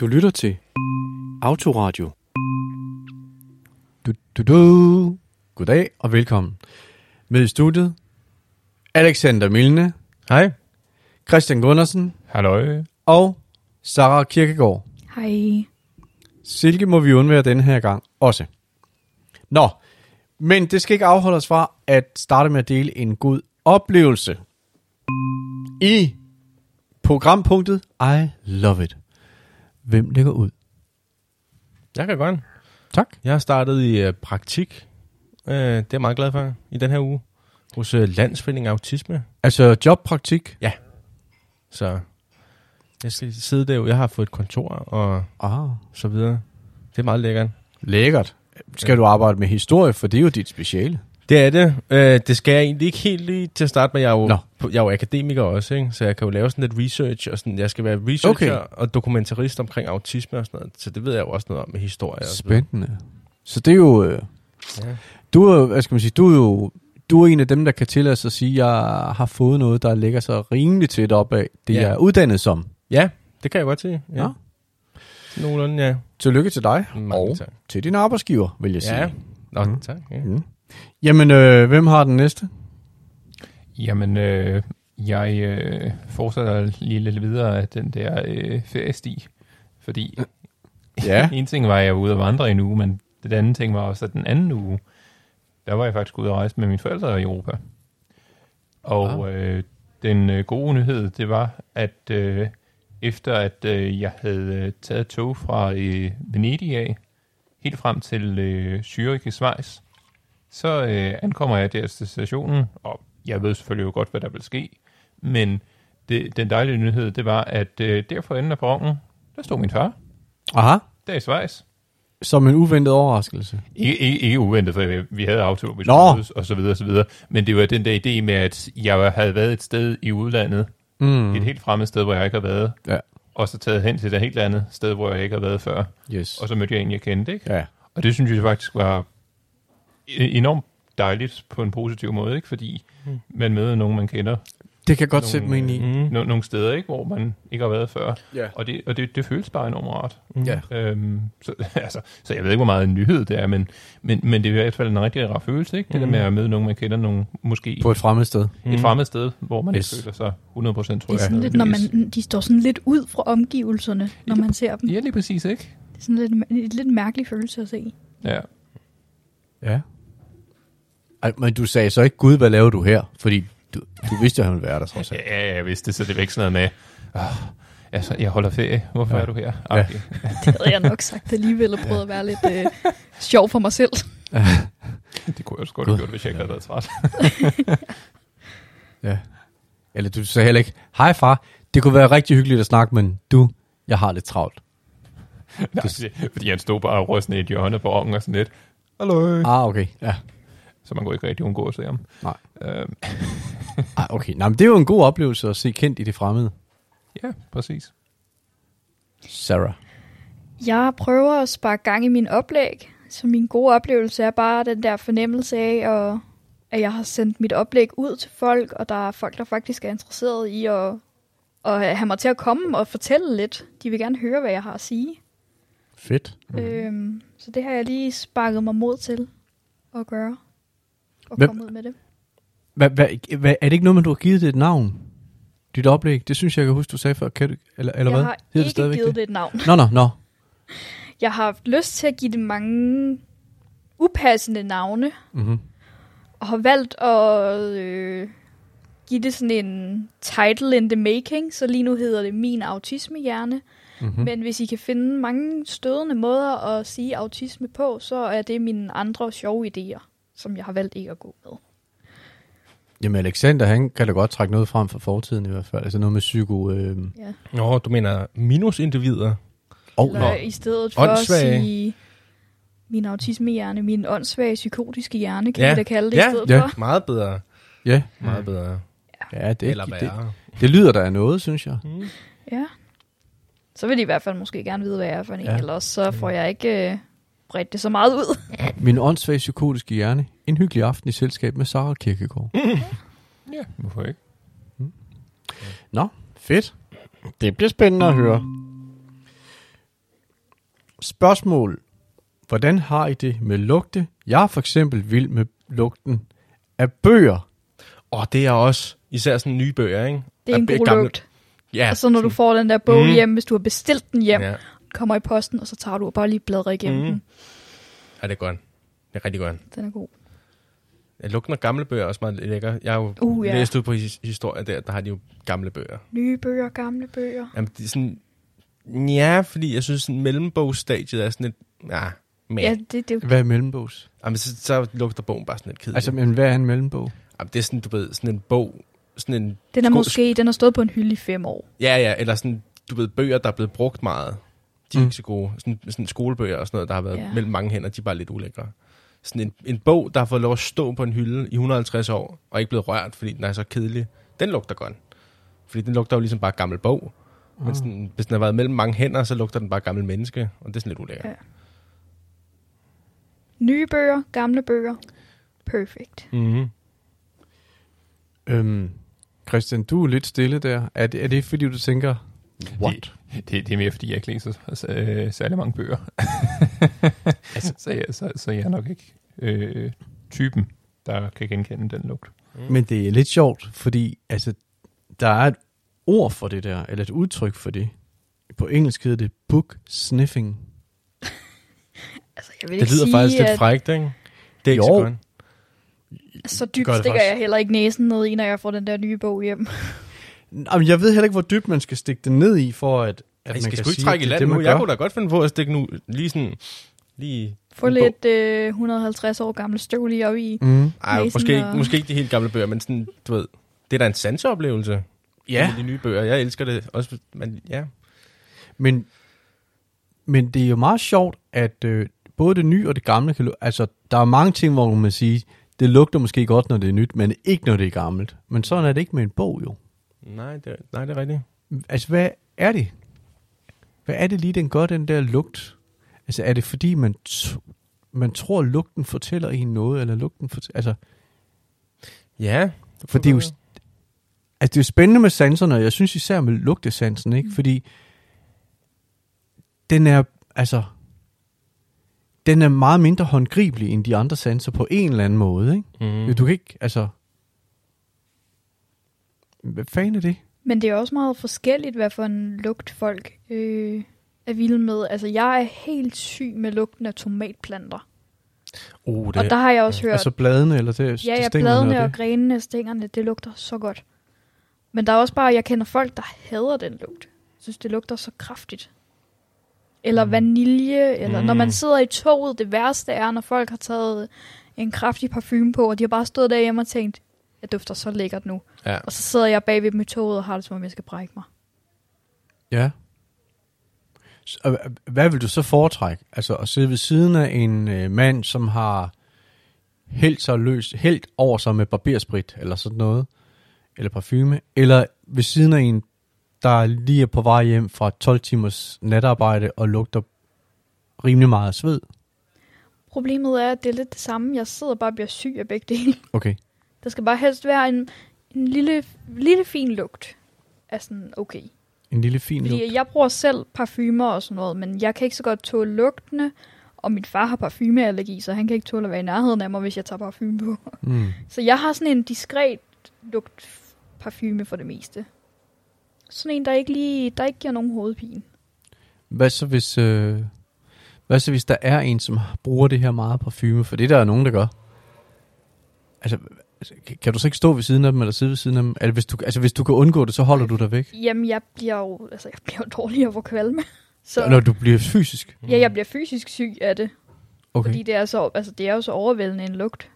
Du lytter til Autoradio. Du, du, du. Goddag og velkommen. Med i studiet, Alexander Milne, Hej. Christian Gundersen Halløj. og Sara Kirkegaard. Hej. Silke må vi undvære denne her gang også. Nå, men det skal ikke afholde os fra at starte med at dele en god oplevelse i programpunktet I Love It. Hvem ligger ud? Jeg kan godt. Tak. Jeg har startet i øh, praktik. Øh, det er jeg meget glad for i den her uge. Hos øh, Landsforeningen Autisme. Altså jobpraktik. Så jeg skal sidde der. Jeg har fået et kontor og Ah, så videre. Det er meget lækkert. lækkert. Skal du arbejde med historie, for det er jo dit speciale. Det er det. Øh, det skal jeg egentlig ikke helt lige til at starte med. Jeg er jo, Nå. på- jeg er jo akademiker også, ikke? så jeg kan jo lave sådan lidt research. og sådan. Jeg skal være researcher okay. og dokumentarist omkring autisme og sådan noget. Så det ved jeg jo også noget om med historie. og så videre. Spændende. Så det er jo... Øh, Ja. du er, hvad skal man sige, du er jo du er en af dem, der kan tillade sig at sige, at jeg har fået noget, der ligger så rimelig tæt op af det, Ja. jeg er uddannet som. Ja, det kan jeg godt se. Ja. Nå. Nogenlunde, ja. Tillykke til dig, Mange og tak. til din arbejdsgiver, vil jeg Ja. sige. Nå, Mhm. tak. Ja. Mm. Jamen, øh, hvem har den næste? Jamen, øh, jeg øh, fortsætter lige lidt videre af den der øh, feriesti, fordi Ja. en ting var, at jeg var ude at vandre i en uge, men den anden ting var også, at den anden uge, der var jeg faktisk ude at rejse med mine forældre i Europa. Og øh, den øh, gode nyhed, det var, at øh, efter at øh, jeg havde øh, taget tog fra øh, Venedig af, helt frem til øh, Zürich i Schweiz, så øh, ankommer jeg der til stationen, og jeg ved selvfølgelig jo godt, hvad der vil ske, men det, den dejlige nyhed, det var, at øh, der for enden af perronen, der stod min far, Aha. der i Schweiz. Som en uventet overraskelse. Ikke, ikke, ikke uventet, for vi- vi havde aftalt, at Nå. vi skulle mødes, og så videre, og så videre. Men det var den der idé med, at jeg havde været et sted i udlandet, Mm. et helt fremmed sted, hvor jeg ikke har været, Ja. og så taget hen til et helt andet sted, hvor jeg ikke har været før. Yes. Og så mødte jeg en, jeg kendte, ikke? Ja. Og det synes jeg faktisk var e- enormt dejligt på en positiv måde, ikke? Fordi Mm. man møder nogen, man kender Det kan jeg godt Nogle, sætte mig ind i. Mm. no- nogle steder, ikke? Hvor man ikke har været før. Ja. Og det, og det, det føles bare enormt rart. Ja. Øhm, så, altså, så jeg ved ikke, hvor meget en nyhed det er, men, men, men det er i hvert fald en rigtig rar følelse, ikke? Det der Mhm. med at møde nogen, man kender nogen, måske På et fremmed sted. et, et fremmed sted, hvor man yes. Yes. ikke føler sig 100% Det er tryg. sådan lidt, når man, de står sådan lidt ud fra omgivelserne, når man ser dem. Ja, lige præcis, ikke? Det er sådan lidt, en lidt mærkelig følelse at se. Ja. Ja. Ej, men du sagde så ikke, Gud, hvad laver du her? Fordi du, du vidste jo, at han ville være der, trods alt. Ja, ja, jeg vidste det, så det var ikke sådan noget med, oh, altså, jeg holder ferie, hvorfor Ja. er du her? Ja. Okay. Det havde jeg nok sagt alligevel og prøvet at være lidt øh, sjov for mig selv. Det kunne jeg også godt have gjort, hvis jeg ikke havde været træt. Eller du sagde heller ikke, hej far, det kunne være rigtig hyggeligt at snakke, men du, jeg har lidt travlt. Nej, det- fordi han stod bare og røstede i et hjørne på ovnen og sådan lidt. Hallo. Ah, okay. Ja. Så man kunne ikke rigtig undgå at se ham. Nej. Øhm, Ah, okay. Nej, men det er jo en god oplevelse at se kendt i det fremmede. ja, præcis. Sarah. Jeg prøver at sparke gang i min oplæg, så min gode oplevelse er bare den der fornemmelse af, at, at jeg har sendt mit oplæg ud til folk, og der er folk, der faktisk er interesseret i at, at have mig til at komme og fortælle lidt. De vil gerne høre, hvad jeg har at sige. Fedt. Mm. Øhm, så det har jeg lige sparket mig mod til at gøre. Og Hvem- komme ud med det. Hva, hva, hva, er det ikke noget, man du har givet det et navn? Dit oplæg? Det synes jeg, jeg kan huske, du sagde før. Kan du, eller, eller jeg hvad? har Hedder ikke givet det et navn. Nå, nå, nå. Jeg har haft lyst til at give det mange upassende navne, Mm-hmm. og har valgt at øh, give det sådan en title in the making, så lige nu hedder det Min Autismehjerne. Mm-hmm. Mm. Men hvis I kan finde mange stødende måder at sige autisme på, så er det mine andre sjove idéer, som jeg har valgt ikke at gå med. Jamen, Alexander, han kan da godt trække noget frem fra fortiden i hvert fald. Altså noget med psyko... Øh... Ja. Nå, du mener minusindivider? Oh, Eller nå. i stedet for Åndssvage. at sige min autismehjerne, min åndssvage psykotiske hjerne, kan Ja. ja. vi da kalde det Ja, i stedet ja. for. Meget bedre. Ja, Meget bedre. ja Mm. det, Eller det, værre. det lyder der af noget, synes jeg. Mm. Ja. Så vil de i hvert fald måske gerne vide, hvad jeg er for en, Ja. ja. ellers så får jeg ikke øh, bredt det så meget ud. Min åndssvage psykotiske hjerne. En hyggelig aften i selskab med Sara Kirkegaard. Ja, hvorfor ikke? Mm. Nå, fedt. Det bliver spændende at høre. Spørgsmål. Hvordan har I det med lugte? Jeg er for eksempel vild med lugten af bøger. Og det er også især sådan nye bøger, ikke? Det er en Af- god gamle- lugt. Ja. Og så når du får den der bog Mm. mm. hjem, hvis du har bestilt den hjem, ja. Ja. kommer i posten, og så tager du og bare lige bladrer igennem Mm. mm. den. ja, det er godt. Det er rigtig godt. Den er god. Jeg lugten af gamle bøger er også meget lækker. Jeg har jo uh, Uh, ja. ja. læst ud på his- historie der, der har de jo gamle bøger. Nye bøger, gamle bøger. Jamen, det er sådan... Ja, fordi jeg synes, sådan mellembogsstadiet er sådan lidt... Ja, men... Ja, Ja. det, det er jo Hvad er mellembogs? Jamen, så, så lugter bogen bare sådan lidt kedelig. Altså, Altså, men hvad er en mellembog? Jamen, det er sådan, du ved, sådan en bog... Sådan en... Den er Sko- måske, den har stået på en hylde i fem år. Ja, ja, eller sådan, du ved, bøger, der er blevet brugt meget. De er Mm. mm. ikke så gode. Sådan, sådan skolebøger og sådan noget, der har været Ja. yeah. mellem mange hænder, de er bare lidt ulækre. Sådan en, en bog, der har fået lov at stå på en hylde i 150 år, og ikke blevet rørt, fordi den er så kedelig, den lugter godt. Fordi den lugter jo ligesom bare gammel bog. Mm. Men sådan, hvis den har været mellem mange hænder, så lugter den bare gammel menneske, og det er sådan lidt ulækkert. Ja. Nye bøger, gamle bøger. Perfect. Mm-hmm. Øhm, Christian, du er lidt stille der. Er det, er det fordi, du tænker, what? Det, det er mere, fordi jeg ikke læser så- øh, særlig mange bøger. altså, så, jeg, så, så jeg er nok ikke øh, typen, der kan genkende den lugt. Mm. Men det er lidt sjovt, fordi altså, der er et ord for det der, eller et udtryk for det. På engelsk hedder det book sniffing. Altså, jeg vil Det ikke lyder sige, faktisk lidt at frækt, ikke? Det er ikke Jo. så godt. så dybt Gør det stikker faktisk. jeg heller ikke næsen ned i, når jeg får den der nye bog hjem. Jamen, jeg ved heller ikke, hvor dybt man skal stikke det ned i, for at, at Jeg man skal kan sgu ikke sige, trække i at det er land nu. man Jeg gør. kunne da godt finde på at stikke nu lige sådan... Lige... Få En bog. lidt øh, 150 år gamle støv lige op i. Mm. Ej, Læse måske, den ikke, og- måske ikke de helt gamle bøger, men sådan, du ved, det er da en sanseoplevelse. Ja. med De nye bøger, jeg elsker det også, men ja. Men, men det er jo meget sjovt, at øh, både det nye og det gamle kan... lu- Altså, der er mange ting, hvor man kan sige, det lugter måske godt, når det er nyt, men ikke når det er gammelt. Men sådan er det ikke med en bog, jo. Nej, det, nej, det er rigtigt. Altså, hvad er det? Hvad er det lige, den gør, den der lugt? Altså, er det fordi, man, t- man tror, lugten fortæller en noget, eller lugten fortæller... Altså, Ja. For det er jo, altså, det er jo spændende med sanserne, og jeg synes især med lugtesansen, ikke? Mm. Fordi den er, altså, den er meget mindre håndgribelig end de andre sanser på en eller anden måde, ikke? Mm. Mm. Du kan ikke, altså... Hvad fanden er det? Men det er også meget forskelligt, hvad for en lugt folk øh, er vilde med. Altså, jeg er helt syg med lugten af tomatplanter. Uh, det, Og der har jeg også hørt, Altså bladene, eller det, Ja, det ja, stænglerne bladene og det? grenene, stængerne, det lugter så godt. Men der er også bare, jeg kender folk, der hader den lugt. Jeg synes, det lugter så kraftigt. Eller mm. vanilje, eller mm. når Mm. man sidder i toget, det værste er, når folk har taget en kraftig parfume på, og de har bare stået derhjemme og tænkt, jeg dufter så lækkert nu. ja. Og så sidder jeg bag ved dem i toget og har det, som om jeg skal brække mig. Ja. S- og h- Hvad vil du så foretrække? Altså at sidde ved siden af en øh, mand, som har hældt, sig løs, hældt over sig med barbersprit eller sådan noget, eller parfume, eller ved siden af en, der lige er på vej hjem fra 12 timers natarbejde og lugter rimelig meget af sved. Problemet er, at det er lidt det samme. Jeg sidder bare og bliver syg af begge dele. Okay. Der skal bare helst være en, en lille, lille fin lugt. Er sådan, okay. En lille fin lugt. Fordi jeg bruger selv parfumer og sådan noget, men jeg kan ikke så godt tåle lugtene, og min far har parfumeallergi, så han kan ikke tåle at være i nærheden af mig, hvis jeg tager parfume på. Mm. Så jeg har sådan en diskret lugt parfume for det meste. Sådan en, der ikke lige, der ikke giver nogen hovedpine. Hvad så hvis... Øh, hvad så hvis der er en, som bruger det her meget parfume? For det der er nogen, der gør. Altså, altså, kan- kan du så ikke stå ved siden af dem, eller sidde ved siden af dem? Altså, hvis du, altså, hvis du kan undgå det, så holder du dig væk. Jamen, jeg bliver jo, altså, jeg bliver jo dårligere for kvalme. Så. Så Når du bliver fysisk. ja, jeg bliver fysisk syg af det, Okay. okay. fordi det er, så, altså, det er jo så overvældende en lugt.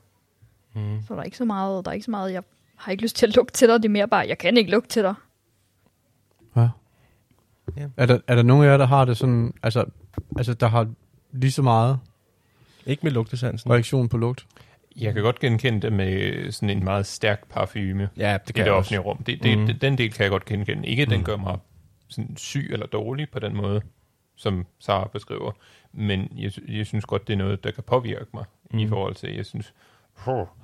Mm. Så der er ikke så meget, der er ikke så meget, jeg har ikke lyst til at lugte til dig, det er mere bare, jeg kan ikke lugte til dig. Ja. Ja. Er, der, er der nogen af jer, der har det sådan... Altså, altså der har lige så meget Ikke med lugtesansen. reaktion på lugt? Jeg kan godt genkende det med sådan en meget stærk parfume Ja, det i det offentlige rum. Det, det, mm. Den del kan jeg godt genkende. Ikke, at den gør mig sådan syg eller dårlig på den måde, som Sara beskriver, men jeg, sy- jeg synes godt, det er noget, der kan påvirke mig mm. i forhold til, jeg synes, "Hov,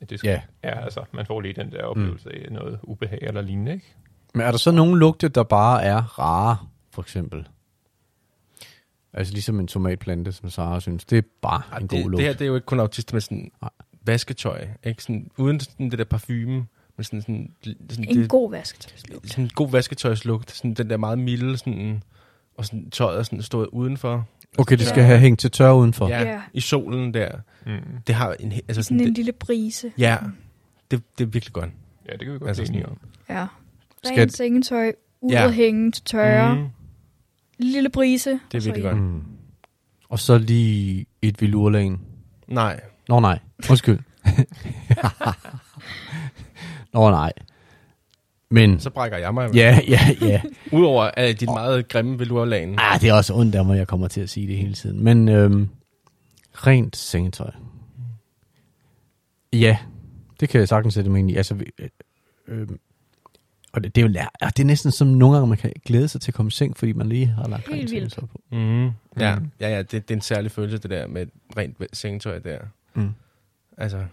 at det skal, Ja. yeah. ja, altså, man får lige den der oplevelse af noget ubehag eller lignende, ikke? Men er der så nogen lugte, der bare er rare, for eksempel? Altså ligesom en tomatplante, som Sara synes, det er bare Ej, en god det, lugt. det her det er jo ikke kun autist, men sådan Nej. vasketøj. Ikke? Sådan, uden sådan det der parfume, men sådan, sådan, sådan, En det, god vasketøjslugt. sådan en god vasketøjslugt. Sådan den der meget milde, sådan, og sådan tøjet er sådan stået udenfor. Okay, det Ja. skal have hængt til tørre udenfor. Ja. Ja, Ja. ja, i solen der. Mm. Det har en... he- Altså Sådan sådan, en det, lille brise. ja, det, det er virkelig godt. Ja, det kan vi godt Altså altså, enige sådan- om. Ja. Skal- Rent sengetøj, ud Ja. at hænge til tørre, mm. Mm, lille brise. det er virkelig godt. Mm. Mm. Og så lige et vilurlagen. Nej. Nå nej, undskyld. Nå nej. Men, Så brækker jeg mig. ja, ja, ja. Udover at dit meget grimme velurlagen. Ah, det er også ondt af mig, jeg kommer til at sige det hele tiden. Men øhm, rent sengetøj. Ja, det kan jeg sagtens sætte mig ind i. Altså, vi- øh, øhm, og det, det, er jo lær- ah, det er næsten som nogle gange, man kan glæde sig til at komme i seng, fordi man lige har lagt Helt rent vildt. sengetøj på. Mm. Ja, ja, ja det, det er en særlig følelse, det der med rent væ- sengetøj der. Mm. Altså,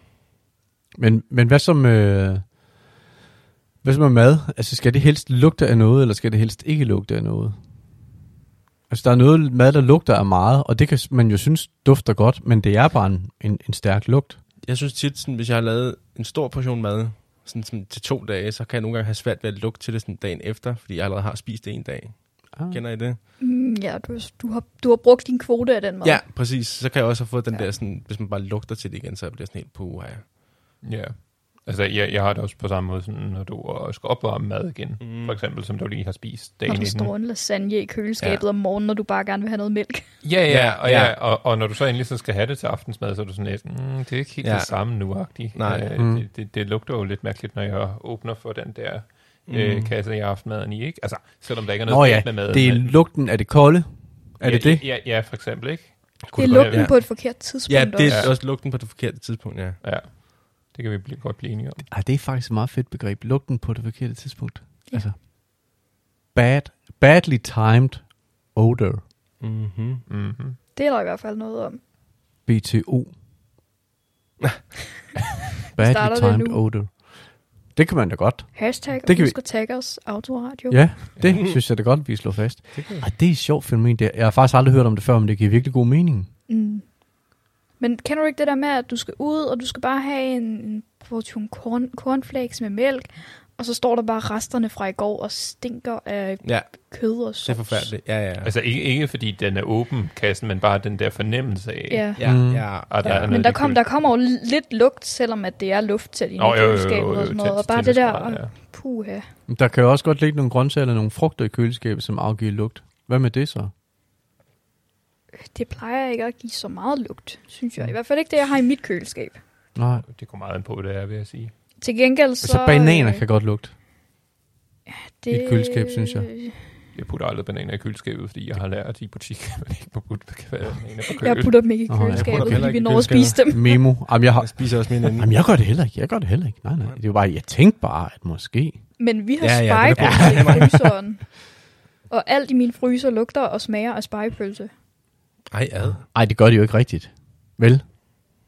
Men, men hvad som... Øh, hvad som er mad? Altså, skal det helst lugte af noget, eller skal det helst ikke lugte af noget? Altså, der er noget mad, der lugter af meget, og det kan s- man jo synes dufter godt, men det er bare en, en, en stærk lugt. jeg synes tit, sådan, hvis jeg har lavet en stor portion mad sådan, sådan, til to dage, så kan jeg nogle gange have svært ved at lugte til det sådan, dagen efter, fordi jeg allerede har spist det en dag. Ah. Kender I det? Mm, ja, du, du, har, du har brugt din kvote af den mad. Ja, præcis. Så kan jeg også have fået den Ja. ja. der, sådan, hvis man bare lugter til det igen, så bliver jeg sådan helt puha. Ja. Altså, jeg, jeg har det også på samme måde, sådan, når du øh, skal opvarme mad igen, Mm. mm. for eksempel, som du lige har spist Når dagen der inden. står en lasagne i køleskabet Ja. ja. om morgenen, når du bare gerne vil have noget mælk. Ja, ja, og, Ja, ja. ja. Ja, og, og når du så endelig så skal have det til aftensmad, så er du sådan lidt, mm, det er ikke helt Ja. ja. det samme nu-agtigt. Nej. Øh, Mm. det, det, det lugter jo lidt mærkeligt, når jeg åbner for den der øh, kasse, jeg har haft maden i, ikke? Altså, selvom der ikke er noget Nå ja, galt med maden. det er men- lugten af det kolde. Er ja, det det? Ja, ja, for eksempel, ikke? Det er du godt- lugten ja. på et forkert tidspunkt Ja, det er også. ja. også lugten på det forkerte tidspunkt, ja. Ja, det kan vi blive, godt blive enige om. Ej, Ah, det er faktisk et meget fedt begreb. Lugten på det forkerte tidspunkt. Ja. Altså, bad, badly timed odor. Mm-hmm. Mm-hmm. Det er der i hvert fald noget om. BTO. Starter badly det timed nu? odor. Det kan man da godt. Hashtag, Det det kan kan vi- husk at tagge os, autoradio. Ja, det synes jeg da godt, vi slår fast. Ej, det er et sjovt fænomen. Det, jeg har faktisk aldrig hørt om det før, men det giver virkelig god mening. Mm. Men kender du ikke det der med, at du skal ud, og du skal bare have en, en portion corn, cornflakes med mælk, og så står der bare resterne fra i går og stinker af Ja, kød og det er sovs. forfærdeligt. Ja, ja. Altså, ikke, ikke fordi den er åben, kassen, men bare den der fornemmelse af, Ja. ja, Mm. ja. og der Ja, er men noget der, i kom, der kommer jo lidt lugt, selvom at det er lufttæt i Nå, jo, jo, jo, køleskabet jo, og sådan noget. til- Og bare til det der, desperat, og puha. Der kan jo også godt ligge nogle grøntsager eller nogle frugter i køleskabet, som afgiver lugt. Hvad med det så? Det plejer ikke at give så meget lugt, synes jeg. I hvert fald ikke det, jeg har i mit køleskab. Nej. ja. Det går meget an på, det er, vil jeg sige. Til gengæld så... Så, så Altså, bananer øh, kan godt lugte. det, i et køleskab, synes jeg. Jeg putter aldrig bananer i køleskabet, fordi jeg har lært i butik, at man ikke må putte bananer på køl. Jeg putter dem ikke i Nå, jeg putter køleskabet, dem heller fordi ikke i vi når at køleskabet. spise dem. Memo. Jamen jeg, Jeg har, spiser også min anden. jamen, jeg gør det heller ikke. Jeg gør det heller ikke. Nej, nej. Det var bare, jeg tænkte bare, at måske... Men vi har Ja, ja, ja, det ja, er spejepølse i fryseren. Og alt i min fryser lugter og smager af spejepølse. Ej, ad. Ej, det gør det jo ikke rigtigt. Vel?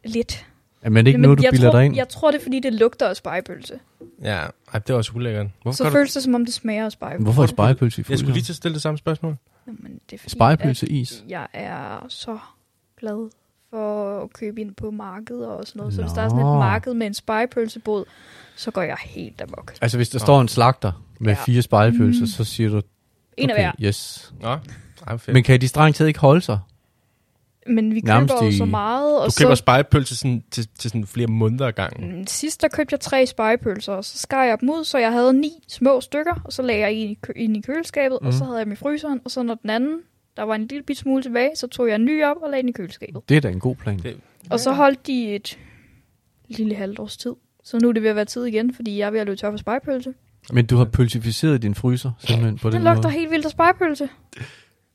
Lidt. Er man ikke Jamen, noget, du jeg, bilder tror, dig ind? jeg tror, det er, fordi det lugter af spejepølse. Ja, ej, det er også ulækkert. Hvorfor Så gør føles det, som om det smager af spejepølse. Hvorfor er spejepølse i Jeg skulle lige fryseren? til at stille det samme spørgsmål. Jamen, det er fordi, Spejepølse i is. at Jeg er så glad for at købe ind på markedet og sådan noget. Så hvis der er sådan Nå. et marked med en spejepølsebod, så går jeg helt amok. Altså, hvis der Nå. står en slagter med Ja. Mm. fire spejepølser, så siger du, En af hver. okay, yes. Nå, ej, fedt. Men kan de strengt taget ikke holde sig? Men vi Nærmest køber jo i- så meget. Og du køber så, spejepølse sådan, til, til sådan flere måneder ad gangen. Mm, Sidst der købte jeg tre spejepølser, og så skar jeg dem ud, så jeg havde ni små stykker, og så lagde jeg en i, kø- en i køleskabet, mm. og Mhm. så havde jeg dem i fryseren, og så når den anden, der var en lille bit smule tilbage, så tog jeg en ny op og lagde den i køleskabet. Det er da en god plan. Det- Og så holdt de et lille halvt års tid. Så nu er det ved at være tid igen, fordi jeg er ved at løbe tør for spejepølse. Men du har pølsificeret din fryser simpelthen på Den den lugter måde. helt vildt af spejepølse.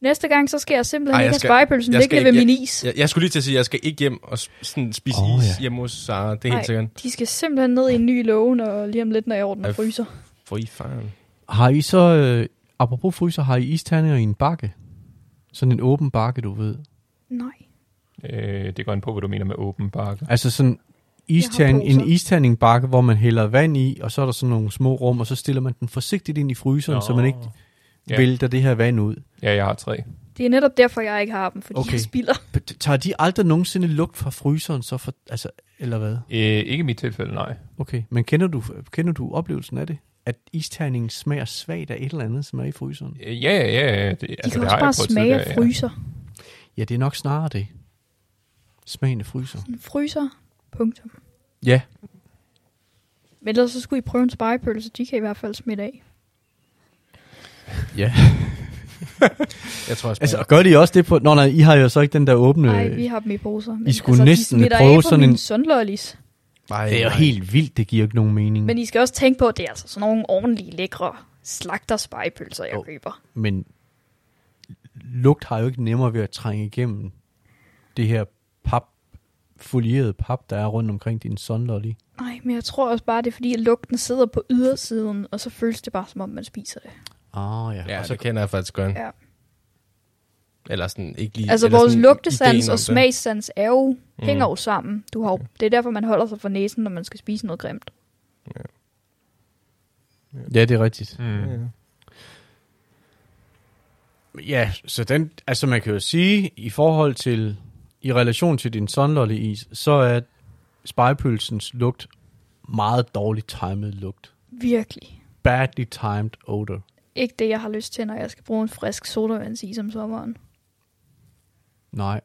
Næste gang, så skal jeg simpelthen Ej, Ej, jeg ikke skal- have spejepølsen jeg skal liggende ved ikke- min is. Jeg, jeg skulle lige til at sige, at jeg skal ikke hjem og s- sådan spise Åh, oh, is ja. hjemme hos Sara. Det er helt Ej. sikkert. De skal simpelthen ned i en ny låge, når lige om lidt, når jeg ordner Ej, f- fryser. For i faren. Har I så, øh, apropos fryser, har I isterninger i en bakke? Sådan en åben bakke, du ved. Nej. Øh, det går an på, hvad du mener med åben bakke. Altså sådan isterning, poser. en isterningbakke, hvor man hælder vand i, og så er der sådan nogle små rum, og så stiller man den forsigtigt ind i fryseren, så man ikke Ja. vælter det her vand ud. Ja, jeg har tre. Det er netop derfor, jeg ikke har dem, fordi okay. Okay. jeg spilder. Tager de aldrig nogensinde lugt fra fryseren, så for, altså, eller hvad? Øh, ikke i mit tilfælde, nej. Okay, men kender du, kender du oplevelsen af det? At isterningen smager svagt af et eller andet, som er i fryseren? Øh, Ja, ja, ja. ja, Det, altså, De kan det også har jeg bare prøvet smage af tidligere, fryser. Ja, det er nok snarere det. Smagen af fryser. En fryser, punktum. Ja. Men ellers så skulle I prøve en spejepølse, de kan i hvert fald smitte af. Ja. Jeg tror, jeg Altså, smager- og gør de også det på... Nå, nej, I har jo så ikke den der åbne... Nej, vi har dem i poser. Men, Øh, skulle altså, næsten de smitter prøve af på sådan mine en- sundlollies. Ej, Det er jo nej. helt vildt, det giver jo ikke nogen mening. Men Men, I skal også tænke på, at det er altså sådan nogle ordentlige, lækre slagterspejepølser, jeg Jo. køber. Men lugt har jo ikke nemmere ved at trænge igennem det her pap, folierede pap, der er rundt omkring din sunlolly. Nej, men jeg tror også bare, det er fordi, at lugten sidder på ydersiden, og så føles det bare, som om man spiser det. Ah, ja. Ja, Og så, det kender jeg faktisk godt. Ja. Eller sådan, ikke lige... Altså, eller vores sådan lugtesans ideen om og det. Mm. smagssans er jo, hænger jo sammen. Du har jo, det er derfor, man holder sig for næsen, når man skal spise noget grimt. ja, det er rigtigt. ja. Mm. Ja, så den, altså man kan jo sige, i forhold til, i relation til din sunlolly-is, så er spejpølsens lugt meget dårligt timet lugt. Virkelig. Badly timed odor. Ikke det, jeg har lyst til, når jeg skal bruge en frisk sodavandsis om sommeren. Nej.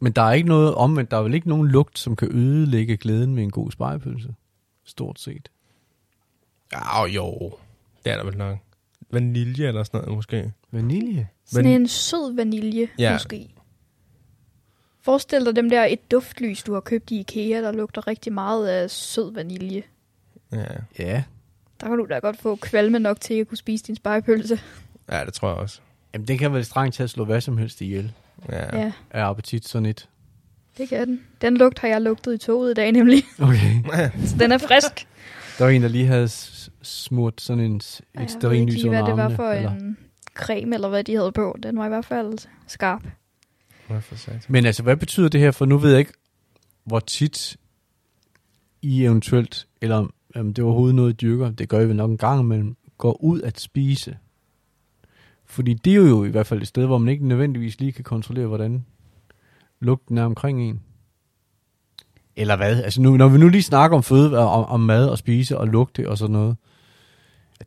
Men der er ikke noget omvendt, der er vel ikke nogen lugt, som kan ødelægge glæden ved en god spejpølse. Stort set. Ja, jo. Det er der vel nok. Vanilje eller sådan noget, måske. Vanilje? Sådan Men- en sød vanilje, Ja. ja. måske. Forestil dig dem der et duftlys, du har købt i Ikea, der lugter rigtig meget af sød vanilje. Ja, Ja. Der kan du da godt få kvalme nok til at kunne spise din spejepølse. ja det tror jeg også. Jamen, den kan vel strengt til at slå hvad som helst ihjel Ja. Ja. ja, af appetit sådan et. det kan den. Den lugt har jeg lugtet i toget i dag nemlig, Okay. så den er frisk. Der var en, der lige havde s- smurt sådan en, s- Ej, et Jeg ved sterin ikke lys lige, under hvad det var armene, for eller- en creme, eller hvad de havde på. Den var i hvert fald skarp. Hvad for sagt? Men altså, hvad betyder det her? For nu ved jeg ikke, hvor tit I eventuelt, eller om om det overhovedet noget, I dyrker, det gør I vel nok en gang imellem, går ud at spise. Fordi det er jo i hvert fald et sted, hvor man ikke nødvendigvis lige kan kontrollere, hvordan lugten er omkring en. Eller hvad? Altså nu, når vi nu lige snakker om føde, om, om mad og spise og lugte og sådan noget,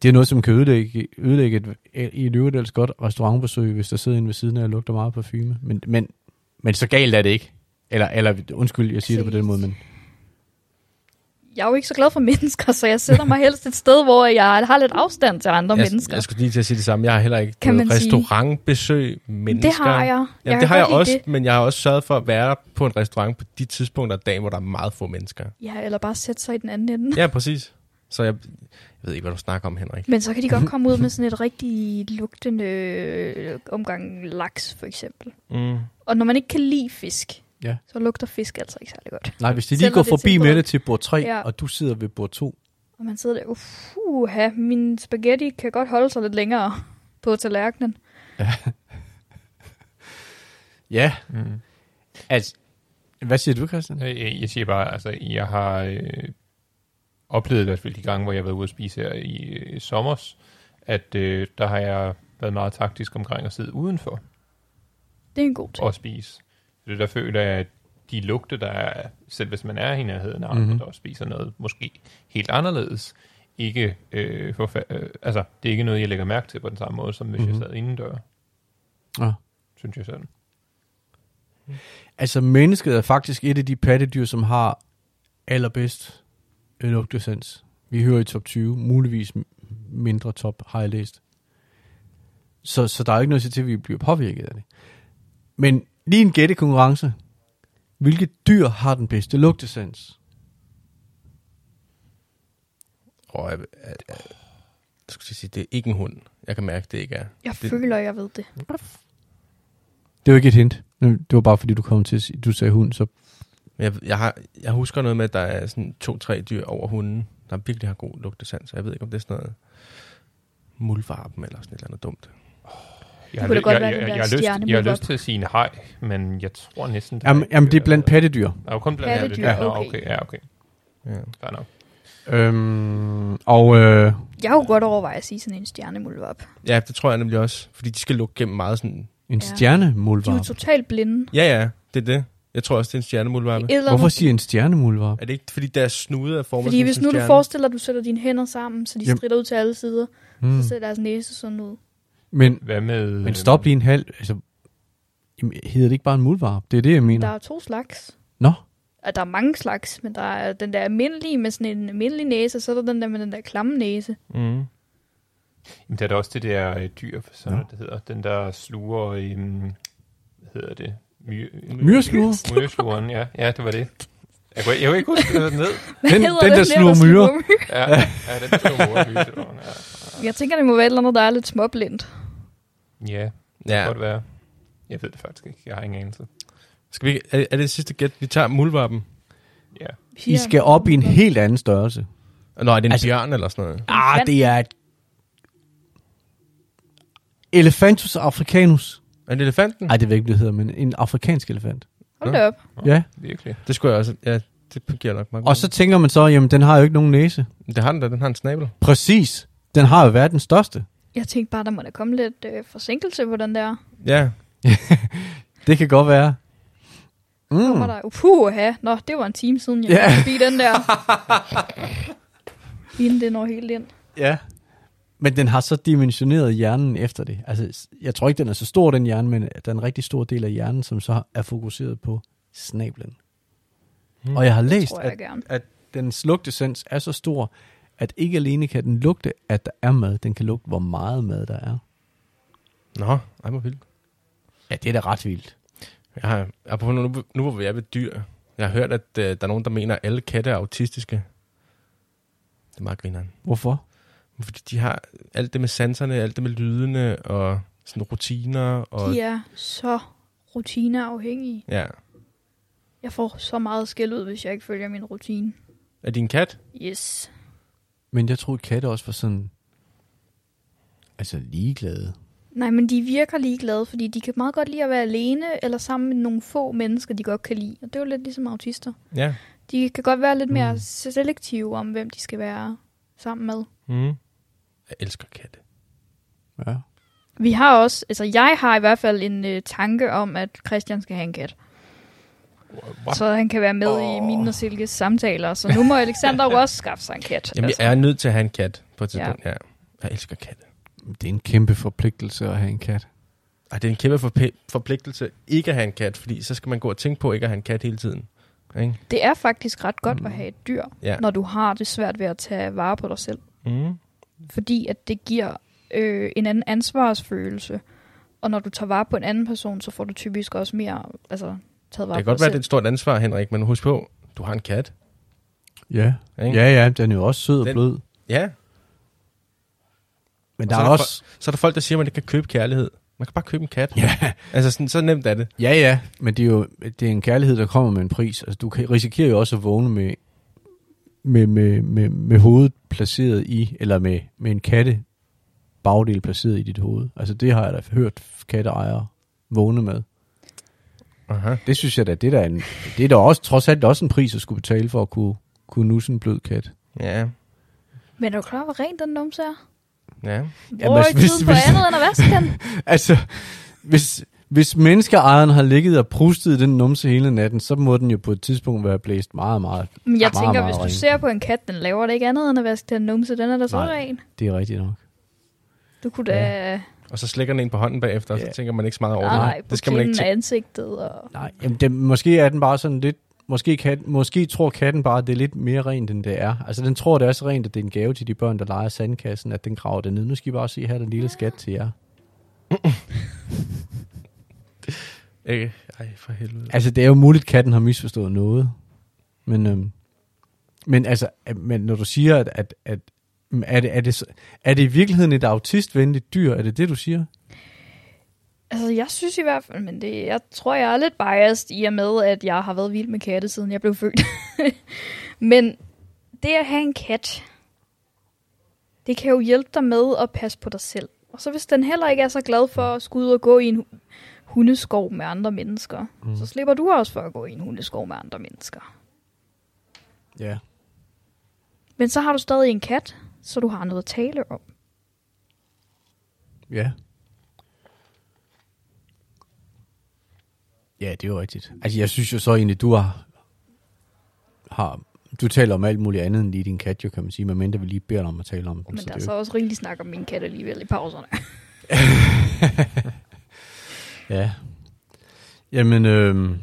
det er noget, som kan ødelægge, ødelægge et, i et øvrigt ellers godt restaurantbesøg, hvis der sidder en ved siden af og lugter meget parfume. Men, men, men så galt er det ikke. Eller, eller undskyld, jeg siger det på den måde, men Jeg er jo ikke så glad for mennesker, så jeg sætter mig helst et sted, hvor jeg har lidt afstand til andre jeg, mennesker. Jeg skulle lige til at sige det samme. Jeg har heller ikke Kan kan man sige- restaurantbesøg mennesker. det har jeg. Jamen, jeg det kan har jeg godt lide også, Det. men jeg har også sørget for at være på en restaurant på de tidspunkter af dagen, hvor der er meget få mennesker. Ja, eller bare sætte sig i den anden ende. Ja, præcis. Så jeg, jeg ved ikke, hvad du snakker om, Henrik. Men så kan de godt komme ud med sådan et rigtig lugtende øh, omgang laks, for eksempel. Mm. Og når man ikke kan lide fisk, Ja. så lugter fisk altså ikke særlig godt. nej, hvis de lige Selvom går det er forbi tilberedt. med det til bord 3, ja. Ja. og du sidder ved bord 2, Og man sidder der, uha, min spaghetti kan godt holde sig lidt længere på tallerkenen. ja, Mm. altså, hvad siger du, Christian? Øh, øh, Jeg siger bare, altså, jeg har øh, oplevet i hvert fald de gange, hvor jeg har været ude at spise her i øh, sommers, at øh, der har jeg været meget taktisk omkring at sidde udenfor Det er en god ting. og spise. Så det der føler jeg, at de lugte, der er, selv hvis man er i nærheden af Mhm. andre, der også spiser noget måske helt anderledes, ikke øh, forfa- øh, altså, det er ikke noget, jeg lægger mærke til på den samme måde, som hvis Mhm. jeg sad indendør, Ja. synes jeg sådan. Altså, mennesket er faktisk et af de pattedyr, som har allerbedst øh, lugtesans. Vi hører i top 20, muligvis m- mindre top, har jeg læst. Så, så der er jo ikke noget til, at vi bliver påvirket af det. Men lige en gættekonkurrence. Hvilket dyr har den bedste lugtesans? Og jeg, jeg, jeg, jeg skulle til at sige, det er ikke en hund. Jeg kan mærke, det ikke er. Jeg det- føler, jeg ved det. Det var ikke et hint. Det var bare fordi, du kom til at sige- du sagde hund, så Men jeg, jeg, har, jeg husker noget med, at der er sådan to-tre dyr over hunden, der virkelig har god lugtesans. Jeg ved ikke, om det er sådan noget muldvarpen eller sådan et eller andet dumt. Jeg har, kunne da ly- godt jeg, være jeg, den jeg, der jeg, har lyst, stjerne jeg med har lyst til at sige en hej, men jeg tror næsten... øh, Jamen, jamen det er blandt pattedyr. Der er jo kun blandt Pattedyr, Ja, okay. okay. Ja, okay. Ja. Fair nok. Øhm, og øh, Jeg kunne godt overveje at sige sådan en stjernemulvarp. Ja, det tror jeg nemlig også. Fordi de skal lukke gennem meget sådan... en Ja. De er jo stjernemulvarp. totalt blinde. Ja, ja, det er det. Jeg tror også, det er en stjernemulvarpe. Et eller Hvorfor andet- siger en stjernemulvarp? Er det ikke, fordi deres snude er formet Fordi som hvis en nu du stjerne? forestiller, at du sætter dine hænder sammen, så de Jamen. strider ud til alle sider, Mm. så ser deres næse sådan ud. Men, Hvad med... men stop lige en halv. Altså, jamen, hedder det ikke bare en mulvarp? Det er det, jeg Der mener. er to slags. Nå, Og der er mange slags, men der er den der almindelige med sådan en almindelig næse, og så er der den der med den der klamme næse. Mm. Jamen, der er der også det der øh, dyr, som Nå. det hedder. Den der sluger... Øhm, hvad hedder det? Myre, myresluger. Myreslugeren, ja. Ja, det var det. Jeg kunne, jeg kunne ikke huske, hvad den ned. Hvad Den- hedder den, der sluger myrer. Ja, ja den slog over myreslugeren, ja. Jeg tænker, det må være et eller andet, der er lidt småblindt. Ja, det kan Ja. godt være. Jeg ved det faktisk ikke. Jeg har ingen anelse. Skal vi, ikke- er, er det sidste gæt? Vi tager mulvarpen. Ja. I skal op i en helt anden størrelse. Nå, er det en Altså- altså, bjørn eller sådan noget? Ah, Elefant. det er et... Elefantus africanus. Er det elefanten? Nej, det ved jeg ikke, det hedder, men en afrikansk elefant. Hold da op. Nå. Ja, Virkelig. Det skulle jeg også... Ja, det giver nok meget og så tænker man så, jamen den har jo ikke nogen næse. mening. Det har den da, den har en snabel. Præcis. Den har jo været den største. Jeg tænkte bare, der må da komme lidt øh, forsinkelse på den der. Ja, Det kan godt være. Mm. Var Mm. der, uh, puha. Nå, det var en time siden, jeg Ja. yeah. forbi den der. Inden det når helt ind. Ja. Men den har så dimensioneret hjernen efter det. Altså, jeg tror ikke, den er så stor, den hjerne, men der er en rigtig stor del af hjernen, som så er fokuseret på snablen. Hmm. Og jeg har læst, Tror at jeg gerne. at dens lugtesens er så stor, at ikke alene kan den lugte, at der er mad, den kan lugte, hvor meget mad der er. Nå, ej, hvor vildt. Ja, det er da ret vildt. Jeg har, apropos nu, nu hvor vi er ved dyr, jeg har hørt, at øh, der er nogen, der mener, at alle katte er autistiske. Det er meget grineren. Hvorfor? Fordi de har alt det med sanserne, alt det med lydene og sådan rutiner. Og, De er så rutineafhængige. ja. Jeg får så meget skæld ud, hvis jeg ikke følger min rutine. Er din kat? Yes. Men jeg troede, katte også var sådan... Altså ligeglade. Nej, men de virker ligeglade, fordi de kan meget godt lide at være alene eller sammen med nogle få mennesker, de godt kan lide. Og det er jo lidt ligesom autister. Ja. De kan godt være lidt mere selektive om, hvem de skal være sammen med. Mm. Jeg elsker katte. Ja. Vi har også, altså jeg har i hvert fald en øh, tanke om, at Christian skal have en kat. What? Så han kan være med oh. i mine og Silkes samtaler. Så nu må Alexander jo også skaffe sig en kat. Jamen, altså. jeg er nødt til at have en kat på et tidspunkt. Ja. ja. Jeg elsker katte. Det er en kæmpe forpligtelse at have en kat. Og det er en kæmpe forp- forpligtelse ikke at have en kat, fordi så skal man gå og tænke på ikke at have en kat hele tiden. Ikke? Det er faktisk ret godt at have et dyr, Mm. Ja. når du har det svært ved at tage vare på dig selv. Mm. Fordi at det giver øh, en anden ansvarsfølelse. Og når du tager vare på en anden person, så får du typisk også mere altså, taget Det vare kan godt på dig være, selv. det er et stort ansvar, Henrik, men husk på, du har en kat. Ja. Ikke? Ja, ja, den er jo også sød og Den- blød. Ja, Men Og der er så er der også... så er der folk, der siger, at man ikke kan købe kærlighed. Man kan bare købe en kat. Ja, Altså, sådan, så nemt er det. ja, ja. Men det er jo det er en kærlighed, der kommer med en pris. Altså, du kan, risikerer jo også at vågne med, med, med, med, med hovedet placeret i, eller med, med en katte bagdel placeret i dit hoved. Altså, det har jeg da hørt katteejere vågne med. Aha. Det synes jeg da, det er da, en, det er da også, trods alt også en pris at skulle betale for at kunne, kunne nusse en blød kat. Ja, Men er du klar, hvor ren den numse er? ja. Bruger hvis- ikke tiden hvis- på hvis- andet end at vaske den? Altså, hvis, hvis menneskeejeren har ligget og prustet i den numse hele natten, så må den jo på et tidspunkt være blæst meget, meget. Men jeg Meget, tænker, meget hvis du ren. ser på en kat, den laver det ikke andet end at vaske den numse. Den er da så Nej. ren. Det er rigtigt nok. Du kunne da... Ja. Og så slikker den en på hånden bagefter, og Ja. så tænker man ikke så meget over det. Nej, det skal man ikke tænke. tænke. ansigtet og... Nej, jamen det, måske er den bare sådan lidt... Måske, kan, måske tror katten bare, at det er lidt mere rent, end det er. Altså, den tror, det er så rent, at det er en gave til de børn, der leger sandkassen, at den graver det ned. Nu skal I bare se, her er den lille skat til jer. Ikke? Ej, for helvede. Altså, det er jo muligt, at katten har misforstået noget. Men, øhm, men altså, at- men når du siger, at, at, at mm, er, det, er, det, så- er det i virkeligheden et autistvenligt dyr? Er det det, du siger? Altså, jeg synes i hvert fald, men det, jeg tror, jeg er lidt biased i og med, at jeg har været vild med katte, siden jeg blev født. men det at have en kat, det kan jo hjælpe dig med at passe på dig selv. Og så hvis den heller ikke er så glad for at skulle ud og gå i en hu- hundeskov med andre mennesker, mm. så slipper du også for at gå i en hundeskov med andre mennesker. Ja. Men så har du stadig en kat, så du har noget at tale om. Ja. Ja, det er jo rigtigt. Altså, jeg synes jo så egentlig, du har, har du taler om alt muligt andet end lige din kat, jo, kan man sige, medmindre vi lige beder dig om at tale om den. Men så der er det er så jo, også rigelig snak om min kat alligevel i pauserne. ja. Jamen, øhm,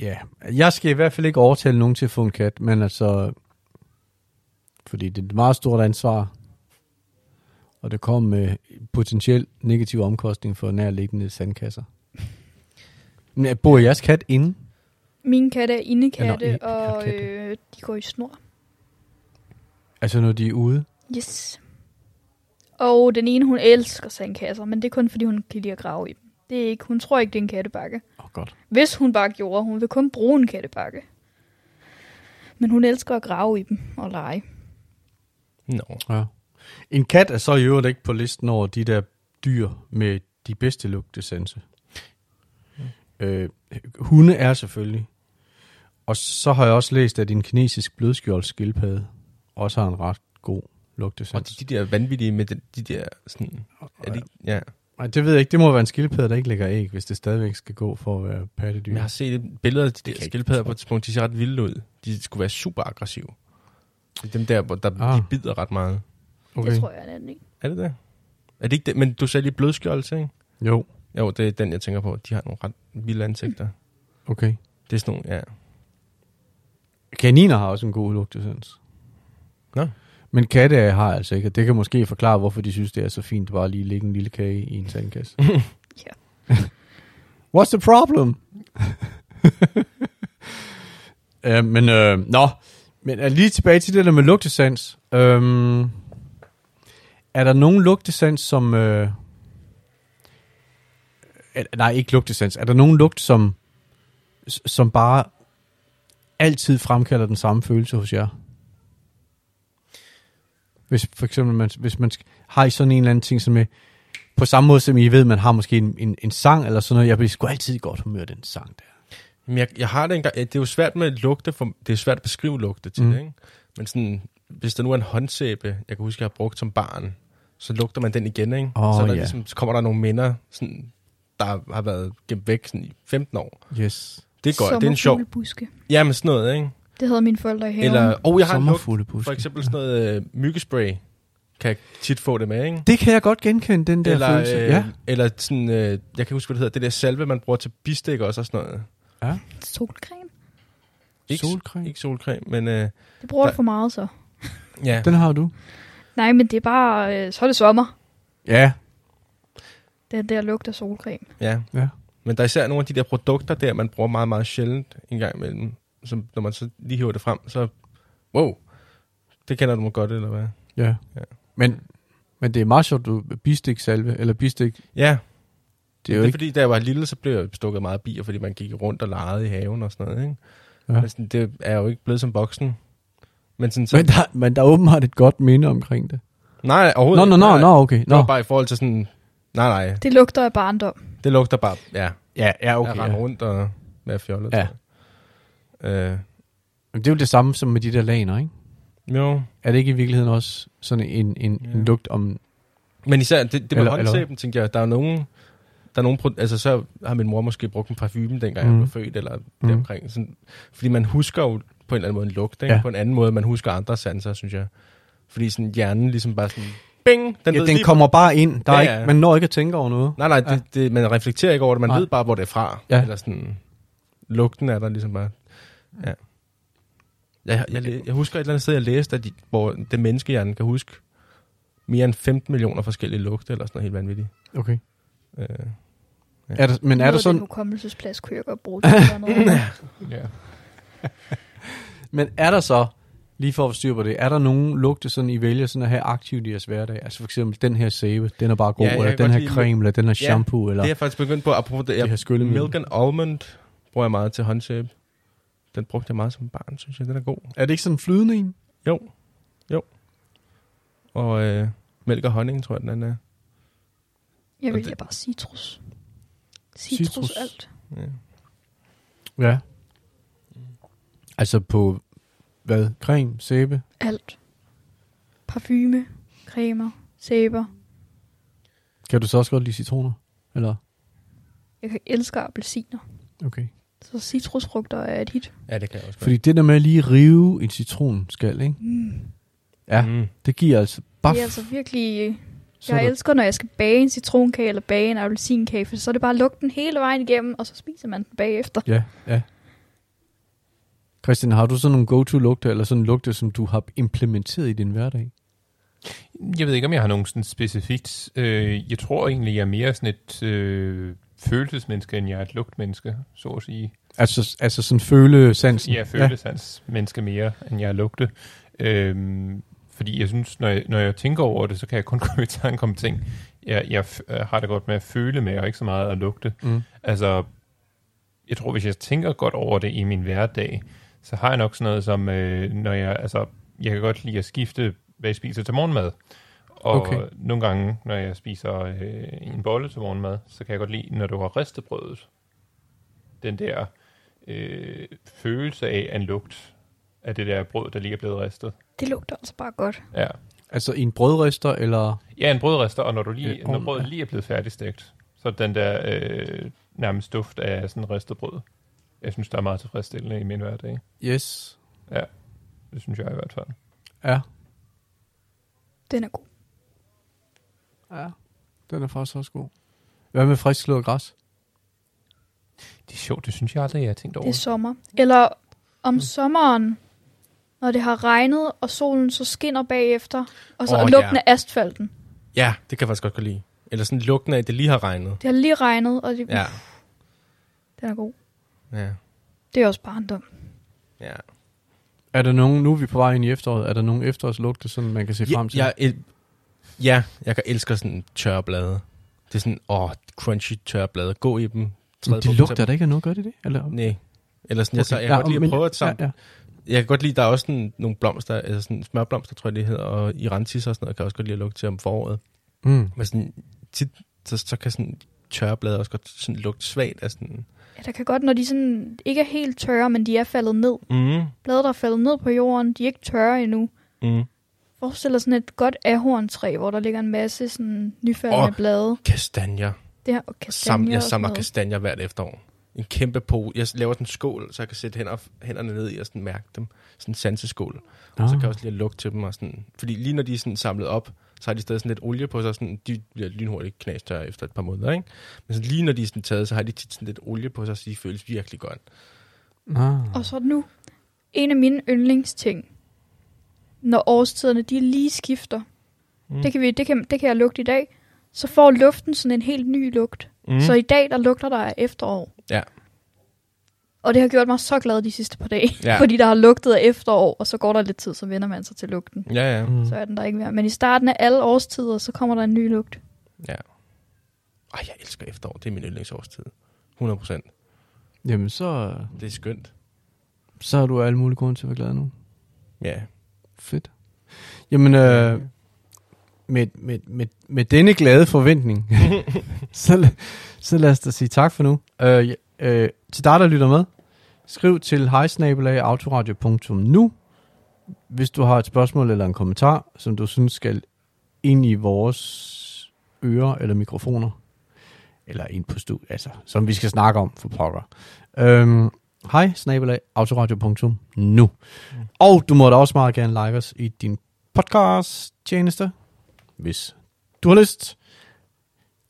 ja. Jeg skal i hvert fald ikke overtale nogen til at få en kat, men altså, fordi det er et meget stort ansvar, og det kommer med potentielt negativ omkostning for nærliggende sandkasser. Men bor jeres kat inde? Mine katte er indekatte, Ja, nå, i- og katte. øh, de går i snor. Altså når de er ude? Yes. Og den ene, hun elsker sandkasser, men det er kun, fordi hun kan lide at grave i dem. Det er ikke, hun tror ikke, det er en kattebakke. Åh, oh, godt. Hvis hun bare gjorde, hun vil kun bruge en kattebakke. Men hun elsker at grave i dem og lege. Nå. Ja. En kat er så i øvrigt ikke på listen over de der dyr med de bedste lugtesense. Øh, hunde er selvfølgelig. Og så har jeg også læst, at en kinesisk blødskjoldskildpadde også har en ret god Og lugtesans. de, de der vanvittige med den, de der sådan... Er de, ja. Nej, det ved jeg ikke. Det må være en skildpadde, der ikke lægger æg, hvis det stadigvæk skal gå for at være pattedyr. Men jeg har set et billede af de der jeg ikke skildpadder forstå. på et tidspunkt, de ser ret vilde ud. De skulle være super aggressive. Det er dem der, hvor der, Ah. ah. de bider ret meget. Okay. Det tror jeg er den ikke. Er det det? Er det ikke det? Men du sagde lige blødskjoldelse, ikke? Jo, Jo, det er den, jeg tænker på. De har nogle ret vilde ansigter. okay. Det er sådan nogle, ja. Kaniner har også en god lugtesans. Nå. Men katte øh, har altså ikke, og det kan måske forklare, hvorfor de synes, det er så fint bare lige at lægge en lille kage i en sandkasse. Ja. What's the problem? uh, men, uh, nå, men uh, lige tilbage til det der med lugtesans. Um, er der nogen lugtesans, som... Uh, nej, ikke lugtesans. Er der nogen lugt, som, som bare altid fremkalder den samme følelse hos jer? Hvis for eksempel, man, hvis man sk- har I sådan en eller anden ting, som er, på samme måde som I ved, man har måske en, en, en sang eller sådan noget, jeg bliver sgu altid i godt humør af den sang der. Men jeg, jeg har det engang, øh, det er jo svært med lugte, for, det er svært at beskrive lugte til Mm. mm. det, ikke? Men sådan, hvis der nu er en håndsæbe, jeg kan huske, jeg har brugt som barn, så lugter man den igen, ikke? Åh, så, er der ja. ligesom, så kommer der nogle minder, sådan, der har været gemt væk sådan, i 15 år. Yes. Det går, det er en sjov. Sommerfuglebuske. Jamen sådan noget, ikke? Det havde mine forældre i haven. Eller, oh, jeg har en lugt, Sommerfugle buske. for eksempel sådan noget øh, myggespray, kan jeg tit få det med, ikke? Det kan jeg godt genkende, den der Eller, følelse. øh, ja. eller sådan, øh, jeg kan ikke huske, hvad det hedder, det der salve, man bruger til bistik også og sådan noget. Solcreme. Ikke, Solcreme. Ikke solcreme, men øh, Det bruger jeg Der- for meget så. ja. Den har du. Nej, men det er bare, øh, så er det sommer. Ja. Den der lugter solcreme. Ja. Ja. Men der er især nogle af de der produkter der, man bruger meget, meget sjældent en gang imellem. Som, når man så lige hiver det frem, så... Wow! Det kender du mig godt, eller hvad? ja. Ja. Men, men det er meget sjovt, du bistik salve, eller bistik, Ja, det er jo det er ikke... fordi, da jeg var lille, så blev jeg stukket meget af bier, fordi man gik rundt og legede i haven og sådan noget, ikke? Ja. Ja. Men sådan, det er jeg jo ikke blevet som voksen. Men sådan, så, Men der, men der er åbenbart et godt minde omkring det. nej, Nå, overhovedet nå, ikke. nå, Nej, nå, okay. Det var Nå. bare i forhold til sådan... Nej, nej, Det lugter af barndom. det lugter bare... Ja, Ja, ja, okay, jeg render rundt og være fjollet. Ja. tror jeg. Øh, Men det er jo det samme som med de der laner, ikke? jo, Er det ikke i virkeligheden også sådan en, en, ja. Ja. en lugt om... Men især det, det med Eller- eller, eller hvad? håndsæben, eller tænkte jeg, der er nogen, der er nogen, pro- altså så har min mor måske brugt en parfume, dengang Mm. mm. jeg blev født, eller mm. deromkring. Sådan, fordi man husker jo på en eller anden måde en lugt, ikke? Ja. Ja. på en anden måde, man husker andre sanser, synes jeg. Fordi sådan hjernen ligesom bare sådan, bing, den Den, ja, ved den lige, kommer bare ind. Der ja, Ja, er ja. ikke, man når ikke at tænke over noget. Nej, nej, det, det, man reflekterer ikke over det, man Nej. nej. ved bare, hvor det er fra. Ja. Ja. Eller sådan, lugten er der ligesom bare, ja. Jeg, jeg, jeg, jeg husker et eller andet sted, jeg læste, at de, hvor det menneskehjernen kan huske mere end 15 millioner forskellige lugte, eller sådan noget helt vanvittigt. Okay. Øh. Ja. Er der, men er der, Den sådan, hukommelsesplads kunne jeg godt bruge til at gøre noget. andet. Ja. men er der så, lige for at få styr på det, er der nogen lugte, sådan I vælger sådan at have aktivt i jeres hverdag? Altså for eksempel den her sæbe, den er bare god, Ja, ja, jeg eller kan den her godt lide- creme, eller den her Ja, shampoo, eller... Det er jeg faktisk begyndt på, apropos det, jeg, Det her skyllemiddel. Milk and Almond bruger jeg meget til håndsæbe. Den brugte jeg meget som barn, synes jeg. Den er god. er det ikke sådan en flydende en? Jo. Jo. Og øh, mælk og honning, tror jeg, den anden er. Jeg Og vil det- bare citrus. Citrus, Citrus. citrus. alt. Ja. Ja. Altså på hvad? Creme, sæbe? Alt. Parfume, cremer, sæber. Kan du så også godt lide citroner? Eller? Jeg kan- elsker appelsiner. Okay. Så citrusfrugter er et hit. Ja, det kan jeg også Fordi det der med at lige rive en citronskal, ikke? Mm. Ja. Mm. Det giver altså baf. Det er altså virkelig... Så er Jeg der- elsker, når jeg skal bage en citronkage eller bage en appelsinkage, for så er det bare at lukke den hele vejen igennem, og så spiser man den bagefter. Ja, ja. Christian, har du sådan nogle go-to-lugte, eller sådan en lugte, som du har implementeret i din hverdag? Jeg ved ikke, om jeg har nogen sådan specifikt. Øh, jeg tror egentlig, jeg er mere sådan et øh, følelsesmenneske, end jeg er et lugtmenneske, så at sige. Altså, altså sådan følesansen? Jeg er følesans menneske mere, end jeg er lugte. Øhm, fordi jeg synes, når jeg, når jeg tænker over det, så kan jeg kun komme i tanke om ting. Jeg, jeg f- øh, har det godt med at føle med, og ikke så meget at lugte. Mm. Altså, jeg tror, hvis jeg tænker godt over det i min hverdag, så har jeg nok sådan noget som, øh, når jeg, altså, jeg kan godt lide at skifte, hvad jeg spiser til morgenmad. Og Okay. okay. nogle gange, når jeg spiser øh, en bolle til morgenmad, så kan jeg godt lide, når du har ristet brødet. Den der øh, følelse af en lugt af det der brød, der lige er blevet ristet. Det lugter altså bare godt. Ja, Altså i en brødrister, eller... ja en brødrester, og når, du lige, Øh, når ovnen, brødet ja. lige er blevet færdigstegt, så er den der øh, nærmest duft af sådan ristet brød. Jeg synes, der er meget tilfredsstillende i min hverdag. Yes. Det synes jeg i hvert fald. Ja. Den er god. Ja. Den er faktisk også god. Hvad med frisk slået græs? Det er sjovt, det synes jeg aldrig, jeg har tænkt Det over. er sommer. Eller Mm. om sommeren, når det har regnet, og solen så skinner bagefter, og så Åh, oh, ja. lugten af asfalten. Ja, det kan jeg faktisk godt godt lide. Eller sådan lugten af, at det lige har regnet. Det har lige regnet, og det, Ja. ja. den er god. Ja. Det er også barndom. ja. Er der nogen, nu er vi på vej ind i efteråret, er der nogen efterårslugte, som man kan se frem til? Jeg, jeg, ja, jeg kan elsker sådan tørre blade. Det er sådan, åh, crunchy tørre blade. Gå i dem. Men på de dem, lugter så- da ikke af noget, gør de det? Eller? Okay. Nej. Eller sådan, jeg, så, jeg kan godt lide at prøve at sammen. Ja, ja. Jeg kan godt lide, der er også sådan nogle blomster, altså sådan smørblomster, tror jeg det hedder, og irantis og sådan noget, kan jeg også godt lide at lugte til om foråret. Mm. Men sådan, tit, så, så kan sådan tørre blade også godt sådan lugte svagt af sådan... Ja, der kan godt, når de sådan ikke er helt tørre, men de er faldet ned. Mm, Blade, der er faldet ned på jorden, de er ikke tørre endnu. mm. Forestil dig sådan et godt ahorntræ, hvor der ligger en masse sådan nyfaldende Åh, oh, blade. Kastanjer. Det her, og Sam, kastanjer jeg og sådan samler noget. kastanjer hvert efterår. En kæmpe pose. Jeg laver sådan en skål, så jeg kan sætte hænder, hænderne ned i og sådan mærke dem. Sådan en sanseskål. Ah. Og så kan jeg også lige lugte til dem. Og sådan, fordi lige når de er sådan samlet op, så har de stadig sådan lidt olie på sig. og Sådan, de bliver lynhurtigt knastørre efter et par måneder. Ikke? Men sådan, lige når de er sådan taget, så har de tit sådan lidt olie på sig, så de føles virkelig godt. Ah. Og så nu, en af mine yndlingsting, når årstiderne de lige skifter, Mm. mm. det, kan vi, det, kan, det kan jeg lugte i dag, så får luften sådan en helt ny lugt. Mm. Så i dag, der lugter der af efterår. Ja. Og det har gjort mig så glad de sidste par dage, Ja. ja. fordi der har lugtet af efterår, og så går der lidt tid, så vender man sig til lugten. Ja, ja. Mm. Så er den der ikke mere. Men i starten af alle årstider, så kommer der en ny lugt. ja. Ej, jeg elsker efterår. Det er min yndlingsårstid. 100 procent. Jamen, så, Det er skønt. så har du alle mulige grunde til at være glad nu. Ja. Fedt. Jamen, øh, med, med, med, med denne glade forventning, så, la- så lad os da sige tak for nu. Øh, ja, øh, til dig, der lytter med, skriv til hejsnabelagautoradio.nu, hvis du har et spørgsmål eller en kommentar, som du synes skal ind i vores ører eller mikrofoner, eller ind på studiet, altså, som vi skal snakke om for pokker. Øhm, hej, snabelag, autoradio.nu. Og du må da også meget gerne like os i din podcast tjeneste, hvis du har lyst.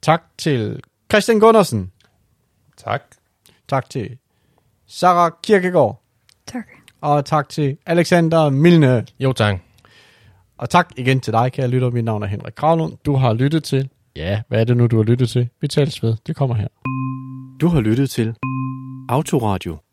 Tak til Christian Gundersen. Tak. Tak til Sarah Kirkegaard. Tak. Og tak til Alexander Milne. Jo, tak. Og tak igen til dig, kære lytter. Mit navn er Henrik Kravlund. Du har lyttet til... Ja, hvad er det nu, du har lyttet til? Vi tales ved. Det kommer her. Du har lyttet til Autoradio.